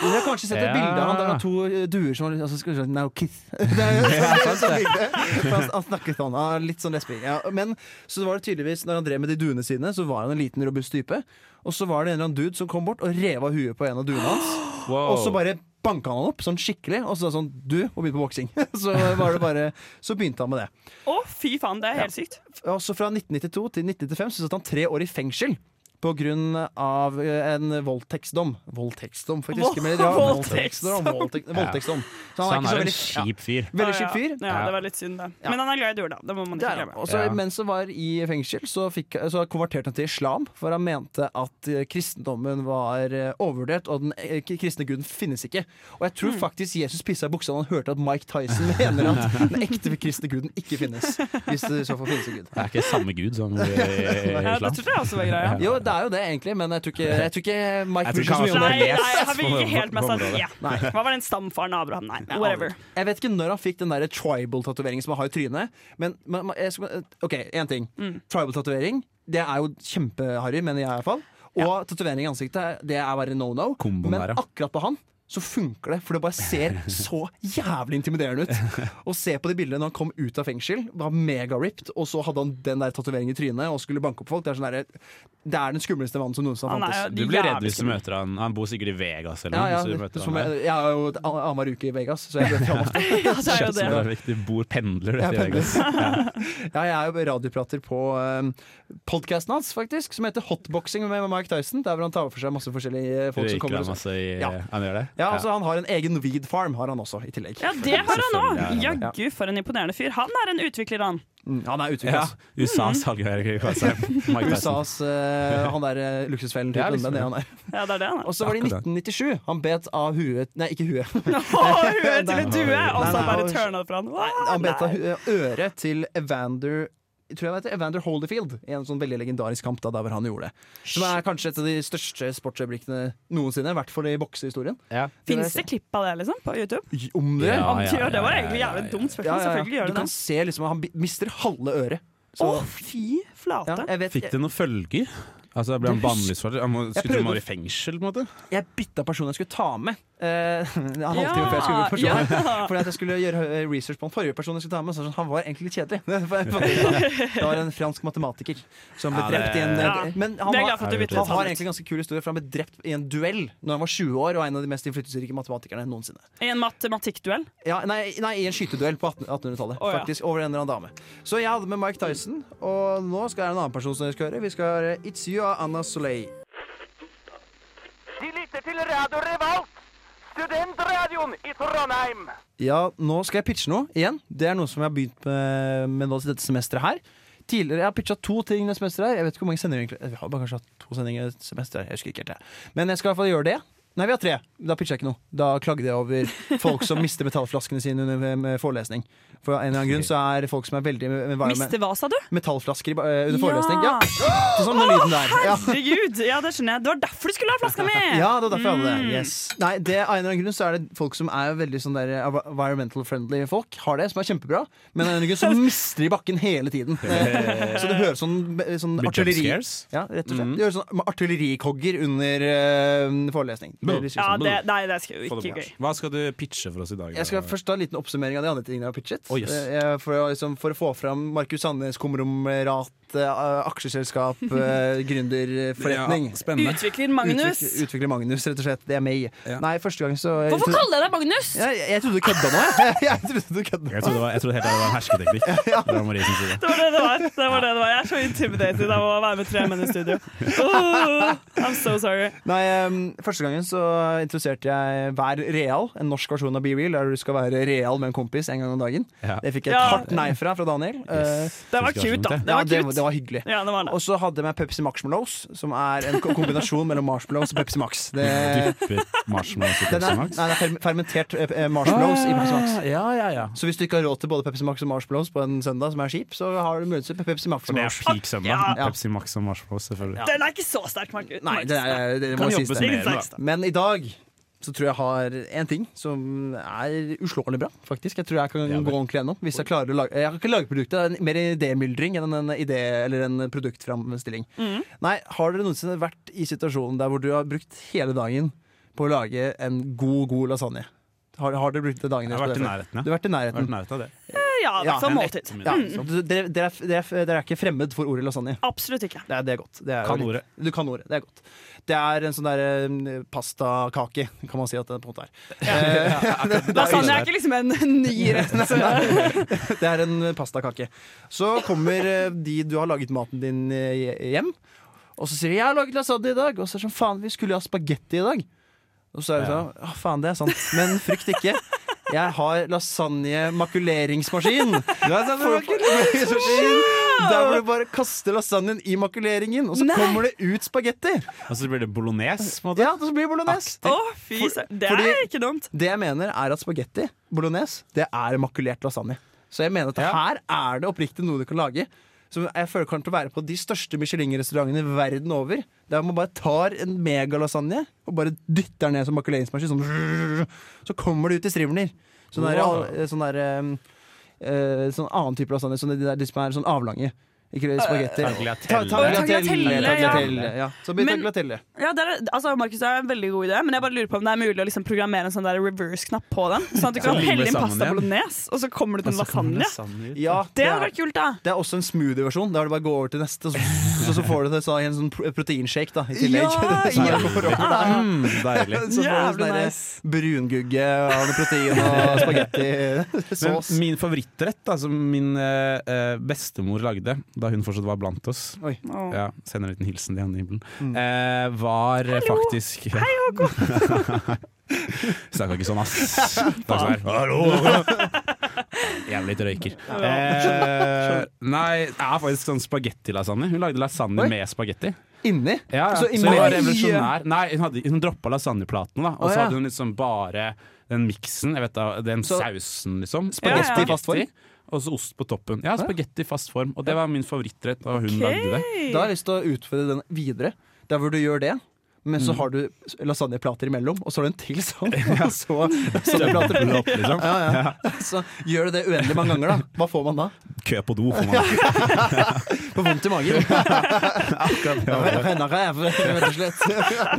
Dere har kanskje sett et
Ja.
bilde av han der han har to eh, duer som har altså, skal vi se, Now kiss. Det er jo sånn- sånn bilde. For Han, han snakket sånn. Han er litt sånn lesbisk. Ja, men så var det tydeligvis, når han drev med de duene sine, så var han en liten, robust type. Og så var det en eller annen dude som kom bort og rev av huet på en av duene hans.
Wow.
Og så bare banka han opp sånn skikkelig, og så sa sånn Du må begynne på boksing. Så, var det bare- så begynte han med det.
Å, fy faen, det er helt sykt.
Og så fra 1992 til 1995 så satt han tre år i fengsel. På grunn av eh, en voldtektsdom. Voldtektsdom, faktisk.
Vold-
Men det var voldtektsdom.
voldtektsdom.
voldtek- Voldtektsdom. Så han
Så Sånn,
er
han er
ikke så
en
veldig
kjip fyr.
ja, Veldig
Å,
kjip fyr.
Ja. ja, det var litt synd, det. Men han er glad i duer, da. Det må man
Det
ikke
er han.
glemme.
Og så
Ja.
mens han var i fengsel, så, fikk, så konverterte han til islam, for han mente at eh, kristendommen var eh, overvurdert, og den eh, k- kristne guden finnes ikke. Og jeg tror faktisk Jesus pissa i buksa da han hørte at Mike Tyson mener at den ekte kristne guden ikke finnes. Hvis det i så fall finnes en gud.
Det er ikke samme gud som
Ja,
i
det
islam.
tror jeg også var greia.
Jo, det er jo det, egentlig, men jeg tror ikke, jeg tror ikke Mike
Jeg tror
bryr seg så
ikke
mye om
han var
det.
Nei,
Les
nei, han vil
på-
ikke helt
på- på
med seg
området.
ja. Hva var den stamfaren Abraham? Nei,
Jeg
whatever.
aner ikke. Jeg vet ikke når han fikk den der tribal-tatoveringen som han har i trynet. Men men- men jeg skal, OK, én ting.
Mm.
Tribal-tatovering Det er jo kjempeharry, mener jeg i hvert fall. Og tatovering i ansiktet det er bare no no.
Komboen
Men
der, ja.
akkurat på han så funker det, for det bare ser så jævlig intimiderende ut. Og se på de bildene når han kom ut av fengsel, var mega-ripped, og så hadde han den der tatoveringen i trynet og skulle banke opp folk. Det er, sånn der, det er den skumleste mannen som noensinne har
Han er
fantes.
jo
Du blir redd
jævlig
hvis du
skummel.
møter han. Han bor sikkert i Vegas eller
Ja,
noe.
ja,
hvis du møter
som
han
jeg, jeg har jo annenhver uke i Vegas, så jeg vet jo ofte.
Ja, så er jo
der.
det.
Det er viktig. Du bor pendler du,
Jeg
i Vegas.
Ja, jeg er jo radioprater på um, podkasten hans, faktisk, som heter Hotboxing med Mike Tyson. Der hvor han tar for seg masse forskjellige folk som
Røyker
kommer. Og
han
sånn.
masse i
Ja.
Han gjør det?
ja, altså, han har en egen weed farm, har han også, i tillegg.
Ja, det har han òg!
Selvfølgelig er han
Jaggu, for en imponerende fyr. Han er en utvikler, han.
Mm, han er utviklet.
Ja.
Mm.
USAs Hallgeir Kvadsheim. Mike Tyson.
USAs eh, han der eh, luksusfellen.
Ja,
typen, det
liksom.
er det han er.
Ja, det er det han er.
Og så var det i
Akkurat.
1997. Han bet av huet Nei, ikke huet.
Å, huet til en due! Og så
Nei, nei,
bare
og-
turna det fra han. Wow,
Han bet av hu- øret til Evander Tror jeg det heter Evander Holyfield i en sånn veldig legendarisk kamp. da, der hvor han gjorde det Som er kanskje et av de største sportsøyeblikkene noensinne. I hvert fall i boksehistorien.
Ja.
Fins det klipp av det, liksom, på YouTube?
Om det?
Ja,
Om de
ja,
gjør det var
ja,
egentlig
ja,
jævlig
ja,
dumt
Ja,
spørsmål.
ja, ja.
Selvfølgelig gjør
Du
det
kan
det.
se liksom, at han bi- mister halve øret.
Å,
Så-
fy
ja,
flate.
jeg, vet,
Fikk
jeg,
det noen følger? Altså, ble han bannlyst for det? Han må, skulle
prøvde-
han være i fengsel, på en måte?
jeg bytta person jeg skulle ta med. Eh, en halvtime
Ja,
før jeg skulle på
ja.
personen. Fordi at jeg skulle gjøre eh, research på den forrige personen jeg skulle ta med. Så sånn, han var egentlig litt kjedelig. Det var en fransk matematiker som ble
Ja, det-
drept i en
Ja.
Men han
Det er jeg glad
har,
for at du bytter
han har
ut. sånn.
egentlig en ganske kul historie, for han ble drept i en duell Når han var 20 år, og en av de mest innflytelsesrike matematikerne noensinne.
I en matematikkduell.
Ja, nei, nei, i en skyteduell på 18- 1800-tallet.
Å, ja.
Faktisk Over en eller annen dame. Så jeg hadde med Mike Tyson, og nå skal jeg en annen person som dere skal høre. Vi skal høre It's You av Anna Soleil. Ja, nå skal jeg pitche noe igjen. Det er noe som jeg har begynt med, med nå til dette semesteret her. Tidligere, Jeg har pitcha to ting dette semesteret her. Jeg vet ikke hvor mange sendinger egentlig Vi har bare kanskje hatt to sendinger et semester. Jeg husker ikke helt det. Men jeg skal i hvert fall gjøre det. Nei, vi har tre. Da pitcha jeg ikke noe. Da klagde jeg over folk som mister metallflaskene sine under med- med forelesning. For av en eller annen grunn så er folk som er veldig med, med, med
Miste hva, sa du?
metallflasker i ba- eh, under
Ja.
forelesning. Ja, sånn som den lyden der. Ja.
Herregud! Ja, det skjønner jeg. Det var derfor du skulle ha flaska mi!
Ja, det var derfor jeg hadde
Mm.
det. Yes. Nei, det, av en eller annen grunn så er det folk som er veldig sånn der environmental friendly folk. Har det, som er kjempebra. Men av en eller annen grunn så mister de bakken hele tiden. Eh, Så det høres sånn, sånn
Blir
artilleri
jumpscares? Mm.
Ja, rett og slett. Det høres sånn artillerikogger under eh, forelesning. Det blir
Ja,
liksom-
det, nei, det er jo ikke gøy.
Hva skal du pitche for oss i dag?
jeg skal først ta en liten oppsummering av de andre tingene jeg har pitchet.
Oh, yes.
Eh, For, å, liksom, for å få fram Markus Sandnes, Komrom-ratet et eh, aksjeselskap, eh, gründerforretning.
Ja, spennende.
Utvikler Magnus.
Utvikler, utvikler Magnus, rett og slett. Det er meg.
Ja.
Nei, første gang så jeg,
Hvorfor
trodde-
kaller jeg deg Magnus?
jeg, jeg trodde du kødda nå, jeg. jeg trodde du kødda.
Jeg trodde, det var, jeg trodde helt at det var en hersketeknikk. fra Marie sin side.
Eh.
Det var det det var. det var det det var. Jeg er så intimidated av å være med tre menn i studio. Oh, I'm so sorry.
Nei, em, første gangen så introduserte jeg Vær real, en norsk versjon av Be Real, der du skal være real med en kompis en gang om dagen.
Ja.
Det fikk jeg et
Ja.
hardt nei fra fra Daniel. Eh,
Det var cute, da. Det
ja,
var
det,
cute.
det var hyggelig.
Ja, det var det.
Og så hadde jeg med Pepsi Marshmallows, som er en ko- kombinasjon mellom marshmallows og Pepsi Max. Det,
Dypper marshmallows i
den
Pepsi
er, nei,
Max. Ah.
det er fer- fermentert eh, eh, marshmallows i Pepsi Max.
Ja, ja, ja.
Så hvis du ikke har råd til både Pepsi Max og marshmallows på en søndag, som er kjip, så har du mulighet til Pepsi Max.
For det er peak søndag.
Ja.
Pepsi Max og marshmallows, selvfølgelig.
Den er ikke så sterk, Markus.
Nei, det, er, det må
Kan
sies
jobbes
det.
mer med.
Exakt.
Men i dag så tror jeg jeg har en ting som er uslåelig bra, faktisk. Jeg tror jeg kan gå ordentlig gjennom. Hvis jeg klarer å lage Jeg kan ikke lage produktet, det er en- mer idémyldring enn en idé eller en produktframstilling.
Mm.
Nei, har dere noensinne vært i situasjonen der hvor du har brukt hele dagen på å lage en god, god lasagne? Har, har dere brukt det dagen
Jeg har
deres på
vært
det
i
før?
nærheten, ja.
Du har vært i nærheten.
Vært nær av det.
Ja, i hvert fall måltid.
Ja, så du- dere, dere, er, dere, er, dere er ikke fremmed for ordet lasagne.
Absolutt ikke.
Det er, det er godt. Det er
Kan
jo litt-
ordet.
Du kan ordet. Det er godt. Det er en sånn der eh, pastakake, kan man si at det på en måte er.
Lasagne er ikke liksom en ny rett.
Det er en pastakake. Så kommer eh, de du har laget maten din eh, hjem, og så sier de 'jeg har laget lasagne i dag', og så er det sånn 'faen, vi skulle jo ha spagetti i dag'. Og så er det sånn 'å faen, det er sant, men frykt ikke'. Jeg har lasagne-makuleringsmaskin. sånn- Makuleringsmaskin, Der hvor du bare kaster lasagnen i makuleringen, og så
Nei.
kommer det ut spagetti.
Og så blir det bolognese. på en måte.
Ja, det blir bolognese.
Å, fy søren. Det er
Fordi-
ikke dumt.
Det jeg mener er at spagetti bolognese Det er makulert lasagne. Så jeg mener at her er det oppriktig noe du kan lage. Som jeg føler kommer til å være på de største Michelin-restaurantene verden over. Der man bare tar en megalasagne og bare dytter den ned som makuleringsmaskin. Sånn, så kommer det ut i strivler. Sånn der,
Wow.
eh, sånn der eh, eh, Sånn annen type lasagne. Sånn de, der, de som er sånn avlange.
Eh,
Ikke spagetti.
Tagliatelle.
Tagliatelle, ja.
tagliatelle, ja. Så blir det
Men-
tagliatelle.
Ja, det er, altså, Markus, det er en veldig god idé, men jeg bare lurer på om det er mulig å liksom programmere en sånn der reverse-knapp på den. Sånn at du kan
limer
helle inn
sammen
pasta
igjen.
bolognese, og så kommer det ut en
Altså,
lasagne.
Ja,
Det
er-
hadde vært kult, da.
Det er også en smoothie versjon. Da er det bare å gå over til neste, så, så, så får du det, så, en sånn pro- proteinshake da, i tillegg.
Ja,
Så
ja.
får du oppi der.
Mm, deilig.
Så får du
Jævlig
sånn
nice.
nice. brungugge av noe protein og
Men
spagettisås.
min favorittrett, da, som min eh, eh, bestemor lagde da hun fortsatt var blant oss
Oi.
Åh.
ja, Sender en liten hilsen til Janne Hibelen.
Mm.
Eh, var eh, faktisk Hei, Håkon! Snakka ikke sånn, ass. Takk skal du ha. Hallo! Jævlig litt røyker. Eh, nei, det er faktisk sånn spagettilasagne. Hun lagde lasagne
Oi.
med spagetti.
Inni?
Ja, ja.
Så
Så, hun
imellom-
var revolusjonær. Nei, hun, hadde- hun droppa lasagneplatene, da. Og
Å,
så
ja.
hadde hun liksom bare den miksen, jeg vet da, den
Så-
sausen, liksom.
Spagetti i
fast form?
Og så ost på toppen. Ja, spagetti i fast form. Og det var min favorittrett da hun lagde det.
Da har jeg lyst til å utfordre den videre. Der hvor du gjør det, men
Mm.
så har du lasagneplater imellom, og så har du en til sånn. Og så lasagneplater.
Opp, liksom.
Ja, ja. Så gjør du det uendelig mange ganger, da. Hva får man da?
Kø på do, får man.
På vondt i magen. Akkurat. Rett og slett.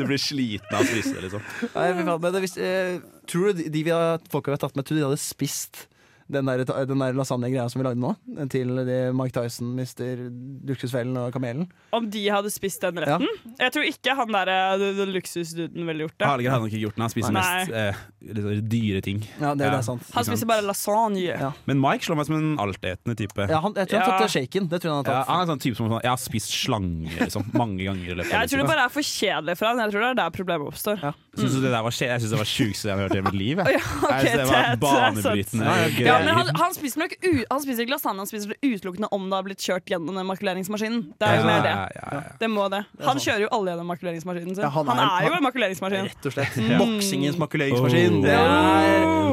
Du blir sliten av å spise det, liksom.
Nei, fy faen, men det, hvis, eh, tror du de, de vi har, folk vi har tatt med, tror du de hadde spist den der, den der lasagne-greia som vi lagde nå? Til de Mike Tyson, Mr. Luksusfellen og Kamelen?
Om de hadde spist den retten? Jeg tror ikke han der eh, the- the luksusduden ville gjort det.
Hallgeir hadde nok ikke gjort det. Han spiser
Nei.
mest eh, litt sånn dyre ting.
Ja, det,
Ja.
det er sant.
Han spiser bare lasagne.
Ja.
Men Mike slår meg som en altetende type.
Ja, han, jeg tror han
Ja.
har tatt shaken. Det tror jeg han
Ja,
har tatt.
han er en sånn type som sånn, Jeg har spist slange liksom, mange ganger. i løpet av
Jeg tror
livet.
det bare er for kjedelig for han. Jeg tror det er der problemet oppstår.
Ja.
Synes du det der var skje? Jeg syns det var sjukeste jeg har hørt i hele mitt liv. Jeg.
Ja, ok,
jeg synes det var
det er sant.
banebrytende
Ja,
greier.
men han, han, spiser nok u han spiser ikke lasagne, han spiser det utelukkende om det har blitt kjørt gjennom den makuleringsmaskinen. Det er jo mer det.
Ja, ja, ja.
Det må det. Han kjører jo alle gjennom makuleringsmaskinen sin.
Ja,
han,
han
er,
er-
jo en makuleringsmaskin.
Rett og slett. Boksingens makuleringsmaskin.
Oh.
Det er,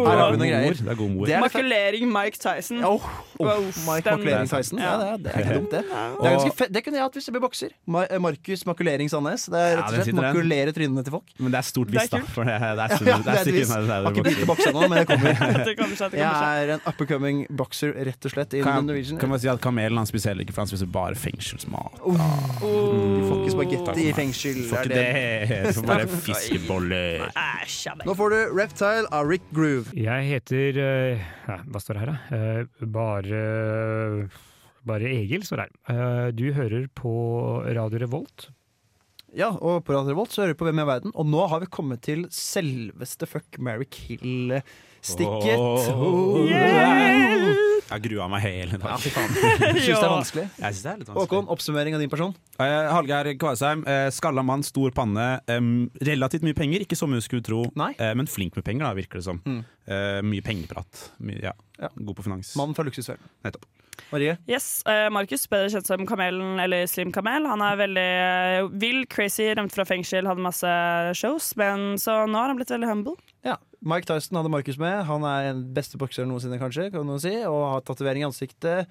her har vi noen
Det
greier.
er god ord, Det er god mor.
Det er det fe-
Makulering Mike Tyson.
Oh, oh,
Uff,
Mike
den-
Makulering Tyson. Ja, det, er, det er ikke dumt, det. Det, er ganske fe det kunne jeg hatt hvis jeg ble bokser. Ma eh, Markus Makulering Sandnes. Det er rett
Ja, den
og slett
sitter den.
makulere trynene til folk.
Men det er stort
Det er
visst, da.
kult.
For det er, det er,
Ja,
det er,
det er et
stykken
vis.
her, det er
Har ikke
voksen.
begynt å bokse ennå, men det kommer.
Det kommer seg, det kommer seg.
Jeg er en up and coming boxer, rett og slett.
Kan,
Innen
jeg-
Norwegian.
kan man si at Kamelen han spiser heller ikke, for han spiser bare fengselsmat. Mm.
Vi får ikke spagetti i fengsel.
Får
er
ikke
det.
det, du får bare fiskeboller.
Æsj, ja, men-
Nå får du Reptile av Rick Groove.
Jeg heter eh, ja, Hva står det her, da? Eh, bare Bare Egil står her. Eh, Du hører på Radio Revolt.
Ja, og på Radio Revolt så hører vi på Hvem er verden? Og nå har vi kommet til selveste Fuck, marry, kill-stikket.
Åh.
Yeah!
Jeg grua meg hele dagen.
Syns det er
Ja.
vanskelig.
Jeg synes det er litt vanskelig.
Håkon, oppsummering av din person.
Eh, Hallgeir Kvarsheim, eh, skalla mann, stor panne. em, relativt mye penger, ikke som hun skulle tro,
Nei.
eh, men flink med penger, da, virker det som.
Mm.
Eh, mye pengeprat. Mye, ja.
Ja.
God på finans.
Mannen fra luksusfellen.
Nettopp.
Marie?
Yes, eh, Markus, bedre kjent som Kamelen eller Slim Kamel. Han er veldig eh, vill, crazy, rømt fra fengsel, hadde masse shows. Men så nå har han blitt veldig humble.
Ja. Mike Tyson hadde Markus med. Han er den beste bokseren noensinne, kanskje, kan noen si, og har tatovering i ansiktet.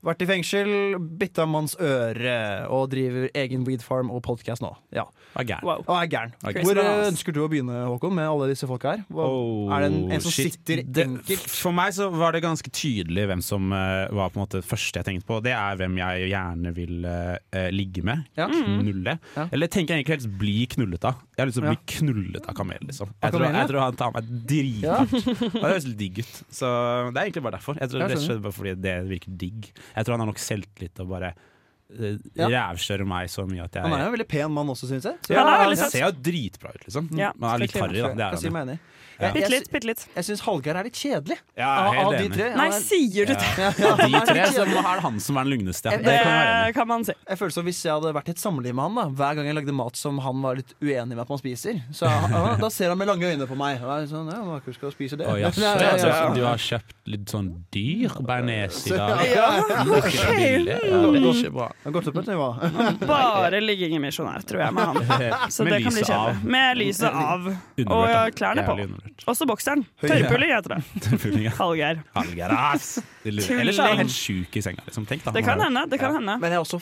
Vært i fengsel, bitt av manns øre, og driver egen weed farm og podkast nå. Ja.
Er gæren.
Wow.
Og er gæren.
Ok.
Hvor eh, ønsker du å begynne, Håkon, med alle disse folka her? Hva,
Oh,
er det en, en som
shit.
sitter
Det-
enkelt?
For meg så var det ganske tydelig hvem som eh, var på en måte det første jeg tenkte på. Det er hvem jeg gjerne vil eh, eh, ligge med.
Ja. Mm.
Knulle.
Ja.
Eller tenker jeg egentlig helst bli knullet av. Jeg har lyst til å bli knullet av kamel, liksom. Jeg tror,
kamel, ja?
jeg tror han tar meg drithardt. Og Det høres litt digg ut. Så det er egentlig bare derfor. Jeg tror
Jeg
det
skjønner.
skjedde bare fordi det virker digg. Jeg tror han har nok selvtillit til å bare uh,
Ja.
rævkjøre meg så mye at jeg
Han er jo en veldig pen mann også, syns jeg. Så
ja,
Han er veldig
han
søt.
ser jo dritbra ut, liksom.
Ja,
Men han er litt
skal jeg
harry, da. Det er
jeg sier
han. jo.
meg enig.
Ja.
Jeg,
Bitte
jeg,
litt, bitte litt.
jeg syns Hallgeir er litt kjedelig. Av-
Ja, jeg er
av
helt
de
enig.
tre.
Nei,
Han er-
sier du det?
Ja, ja, han
De
er
tre
litt
så
kjedelig.
er det han som er den lugneste. Ja. Det
Det
kan jeg være enig i.
kan man si.
Jeg føler som Hvis jeg hadde vært i et samliv med han da hver gang jeg lagde mat som han var litt uenig med at man spiser, så ja, da ser han med lange øyne på meg. Og jeg er sånn, ja, Markus skal spise det.
Å,
Ja, ja,
ja, shit,
ja,
altså,
ja.
Du har kjøpt litt sånn dyr bearnés i dag.
Ja,
Lukter så billig. Ja, det er ikke bra.
Han har gått opp et nivå.
Bare ligging i misjonær, tror jeg, med han. Så
Med
det kan bli
lyset av.
kjedelig. Med lyset av. Og eh,
Undervurdert, da.
klærne på.
Jævlig undervurdert.
Også bokseren. Tørrpulling heter det.
Selvfølgelig, ja.
Hallgeir.
Hallgeir, ass! Eller eller så er han helt sjuk i senga, liksom. Tenk, da.
Det kan hende. det kan hende.
Men jeg er også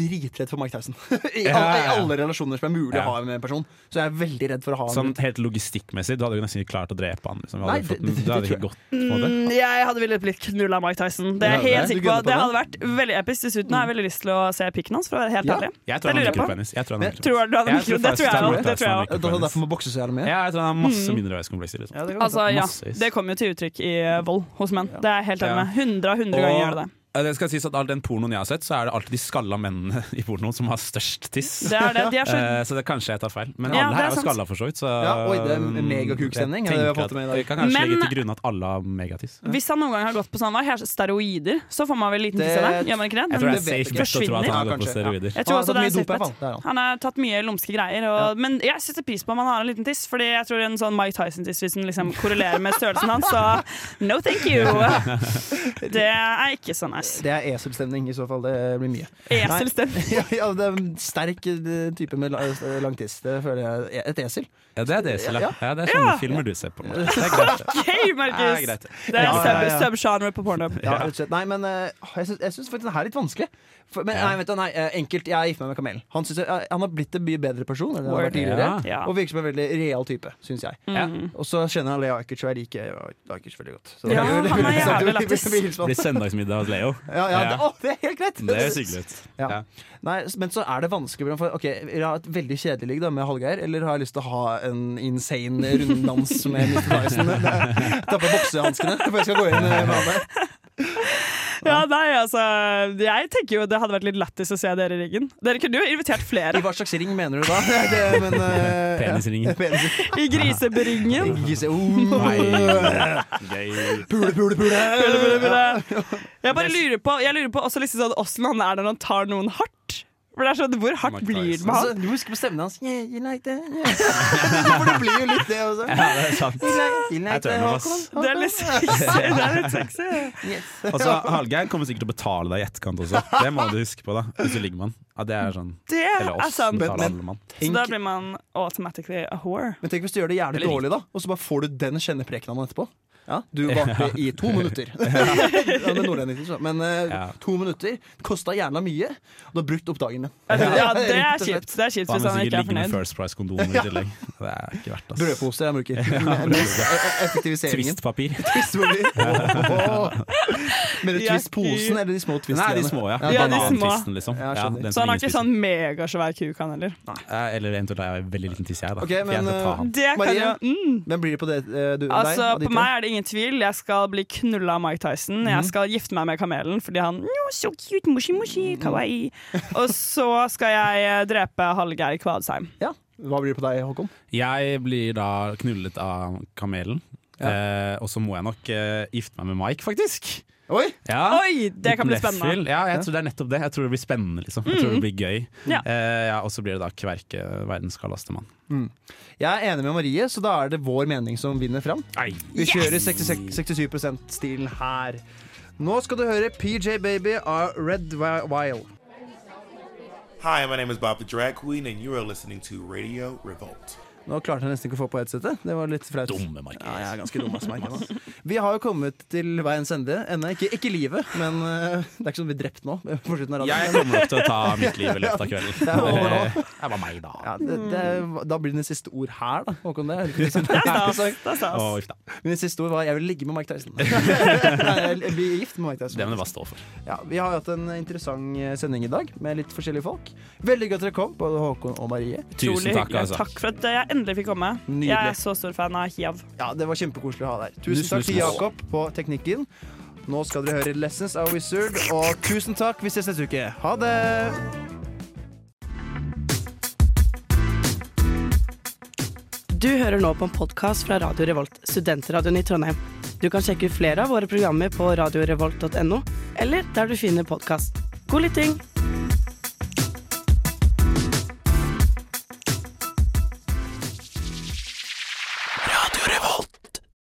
dritredd for Mike Tyson. I,
Ja,
alle, I
ja.
alle relasjoner som er mulig
Ja.
å ha med en person. Så jeg er veldig redd for å ha
Sånn
ham
helt logistikkmessig, du hadde jo nesten ikke klart å drepe han. Liksom. Du
Nei, det-
hadde, fått,
det- det
du hadde
tror jeg.
ikke gått på en måte.
Mm, Jeg hadde villet blitt knulla av Mike Tyson. Det er jeg
Ja,
helt
det er- du
sikker på.
gunner på
Det
det?
hadde vært veldig episk. Dessuten har jeg veldig lyst til å se pikken hans, for å være helt
Ja.
ærlig.
Jeg tror
Det
han har
lurer jeg på.
mikropenis. Jeg tror han har
Men-
Tror du
mikropenis.
han har
Jeg tror
mikro? Det
faktisk
tror jeg også, Det tror
han har
jeg også.
mikropenis.
Derfor derfor må bokse så jævlig mye.
Ja, jeg tror han har masse mindreveiskomplekser. Liksom.
Altså, ja,
Massevis.
det kommer jo til uttrykk i eh, vold hos menn. Det er jeg helt enig
Ja.
med. 100 av 100 ganger gjør det det.
Og eh, det skal sies at all den pornoen jeg har sett, så er det alltid de skalla mennene i pornoen som har størst tiss.
Det er det. De er så
Eh, så det kanskje jeg tar feil. Men
Ja,
alle
det er
her er jo
sant.
skalla for så vidt. Så mm,
Ja, oi, det er megakuksending, er det
jeg
vi har
tenker
fått med i dag.
at Vi kan kanskje
Men-
legge til grunn at alle har megatiss.
Hvis han noen gang har gått på sånn hva, her- steroider, så får man vel liten
Det-
tiss av det? Gjør man ikke det?
Jeg tror
det
det
vet
er safe
jeg
best å tro at
ikke.
han har
Ja,
gått på
kanskje.
steroider.
Jeg
Han har
tror også
tatt
det
mye
er
dop, i
safe
hvert fall.
bet.
Det er han.
Han har tatt mye lumske greier, og, men jeg setter pris på om han har en liten tiss. Fordi jeg tror en sånn Mike Tyson-tiss, hvis den liksom korrelerer med størrelsen hans, så no thank you! Det er ikke så nice.
Det er eselstemning i så fall. Det blir mye.
Eselstemning.
Ja, ja, det er en sterk eh, type med la- lang tiss. Det føler jeg. E- Et esel.
Ja, det er det, Silla.
Ja.
Ja, det er sånne filmer du ser på. Mark. Det er greit. det.
Hei,
Det er
Markus!
greit.
Det er
Ja, ja, ja.
sub- subgenre på porno.
Ja, rett og slett. Nei, men eh, jeg syns- jeg syns faktisk den her er litt vanskelig. For, men, nei, vet du, nei, eh, enkelt, jeg gifter meg med Kamelen. Han, synes, jeg- eh, han har blitt en mye bedre person enn han har
Word.
vært tidligere.
Ja.
Og virker som en veldig real type, syns jeg.
Mm.
Og så kjenner han Lea Ajkic, og jeg liker Lea Ajkic veldig godt. Så
Ja,
det jo-
han er
så det
jævlig
blir-
lættis.
blir hilsen på han.
Blir søndagsmiddag hos Leo.
Ja, ja, det,
Ja.
å, det er helt greit!
Det høres hyggelig ut.
Ja.
Ja.
Nei, s- men så er det vanskelig. For, ok, vil jeg ha et veldig kjedelig ligg da, med Hallgeir, eller har jeg lyst til å ha en insane runddans med Mr. Tyson? Det er- Ta på boksehanskene før jeg skal gå inn eh, med han der.
Ja, nei, altså Jeg tenker jo det hadde vært litt lættis å se dere i riggen. Dere kunne jo invitert flere.
I hva slags ring mener du da? Det, men, eh,
Penisringen.
ja, Penis.
I griseberingen.
Ikke se oh,
Nei. Gøy.
Pule, pule, pule!
Burde, burde, burde. Jeg bare lurer på Jeg lurer på også liksom sånn åssen han er når han tar noen hardt. For det er sånn, Hvor hardt
Mike
blir det
Tyson.
med
Altså,
han?
du må huske på stemmen hans. Yeah, you like that, yeah. For det blir jo litt det også.
Ja, det er sant.
You like, you like
Jeg tør
that,
meg, ass.
Håkon?
Det er litt sexy. Det er litt sexy.
Yes.
Og så Altså, Hallgeir kommer sikkert til å betale deg i etterkant også. Det må du huske på, da. Hvis du ligger med han. Ja, det er sånn
Det
Eller
er
oss. som
sant.
betaler alle mann.
Så da blir man automatically a whore.
Men tenk hvis du gjør det jævlig dårlig, da og så bare får du den kjennepreken av han etterpå. Ja, du varte i to minutter. ja, med nordlending, så. Men eh,
Ja.
to minutter kosta jævla mye, og du har brukt opp dagen din.
Altså, Ja, det
Rett
er
og slett.
kjipt Det er kjipt
Hva
hvis
med
han ikke
sikkert
er
ligge med
fornøyd.
First Price-kondomer i tillegg? Det er ikke verdt ass.
Brødposer jeg bruker. E- Effektiviseringen.
Twist-papir.
Twistbolig. Åh. Med det
Ja,
Twist-posen eller de små Twist?
Nei, de små, ja.
Ja, de små.
Banantvisten, liksom.
Ja, jeg
Ja,
skjønner.
den
Så han
som
har
ingen
ikke sånn megasvær kuk, han heller.
spiser. Eh, Eller eventuelt har jeg veldig liten tiss, jeg, da.
Ok, men,
jeg skal ta
eh,
han.
Det kan
Marie?
jo mm.
Hvem blir det på det? eh, Du,
Altså,
deg, av de
på
tre?
meg er det ingen tvil. Jeg skal bli knulla av Mike Tyson.
Mhm.
Jeg skal gifte meg med kamelen fordi han no, so cute, moshi, moshi, kawaii. Og så skal jeg eh, drepe Hallgeir Kvadsheim.
Ja. Hva blir det på deg, Håkon?
Jeg blir da knullet av kamelen. Eh, og så må jeg nok eh, gifte meg med Mike, faktisk.
Oi!
Ja.
Oi, det kan bli
Liten
spennende. Mm.
Leffel. Ja, jeg tror det er nettopp det. Jeg tror det blir spennende, liksom. Jeg tror det blir gøy.
Ja.
Eh, ja, og så blir det da Kverke, verdens kaldeste mann.
Jeg er enig med Marie, så da er det vår mening som vinner fram.
Nei.
Vi kjører 66 67 %-stilen her. Nå skal du høre PJ Baby av Red Wi- Wild.
Hi, my name is Bob the Drag Queen, and you are listening to Radio Revolt.
Nå klarte jeg nesten ikke å få på headsetet. Det var litt flaut.
Dumme Markus.
Ja, jeg er ganske dum. ass, merker jeg nå. Vi har jo kommet til veiens ende ennå. Ikke, ikke livet, men eh, det er ikke sånn vi er drept nå. På slutten av
Jeg
radioen.
kommer nok til å ta mitt liv i løpet av kvelden.
Det var bra.
Eh, det var meg, da.
Ja, det, det, da blir det siste ord her, da. Håkon, det er litt interessant.
Det er stas. Det er stas.
Og uff da.
Mine siste ord var 'jeg vil ligge med Mike Tyson'. Nei, jeg blir gift med Mike Tyson.
Det må det bare stå for.
Ja, vi har hatt en interessant eh, sending i dag med litt forskjellige folk. Veldig gøy at dere kom, både Håkon og Marie.
Tusen
Utrolig
takk,
hyggelig.
altså.
Takk for at jeg endelig fikk komme.
Nydelig.
Jeg er så stor fan av Hiav.
Ja, Det var kjempekoselig å ha deg her. Tusen
Nuss,
takk til
nuss, nuss.
Jakob på teknikken. Nå skal dere høre 'Lessons of Wizard', og tusen takk. Vi ses neste uke. Ha det!
Du hører nå på en podkast fra Radio Revolt, studentradioen i Trondheim. Du kan sjekke ut flere av våre programmer på radiorevolt.no, eller der du finner podkast. God lytting!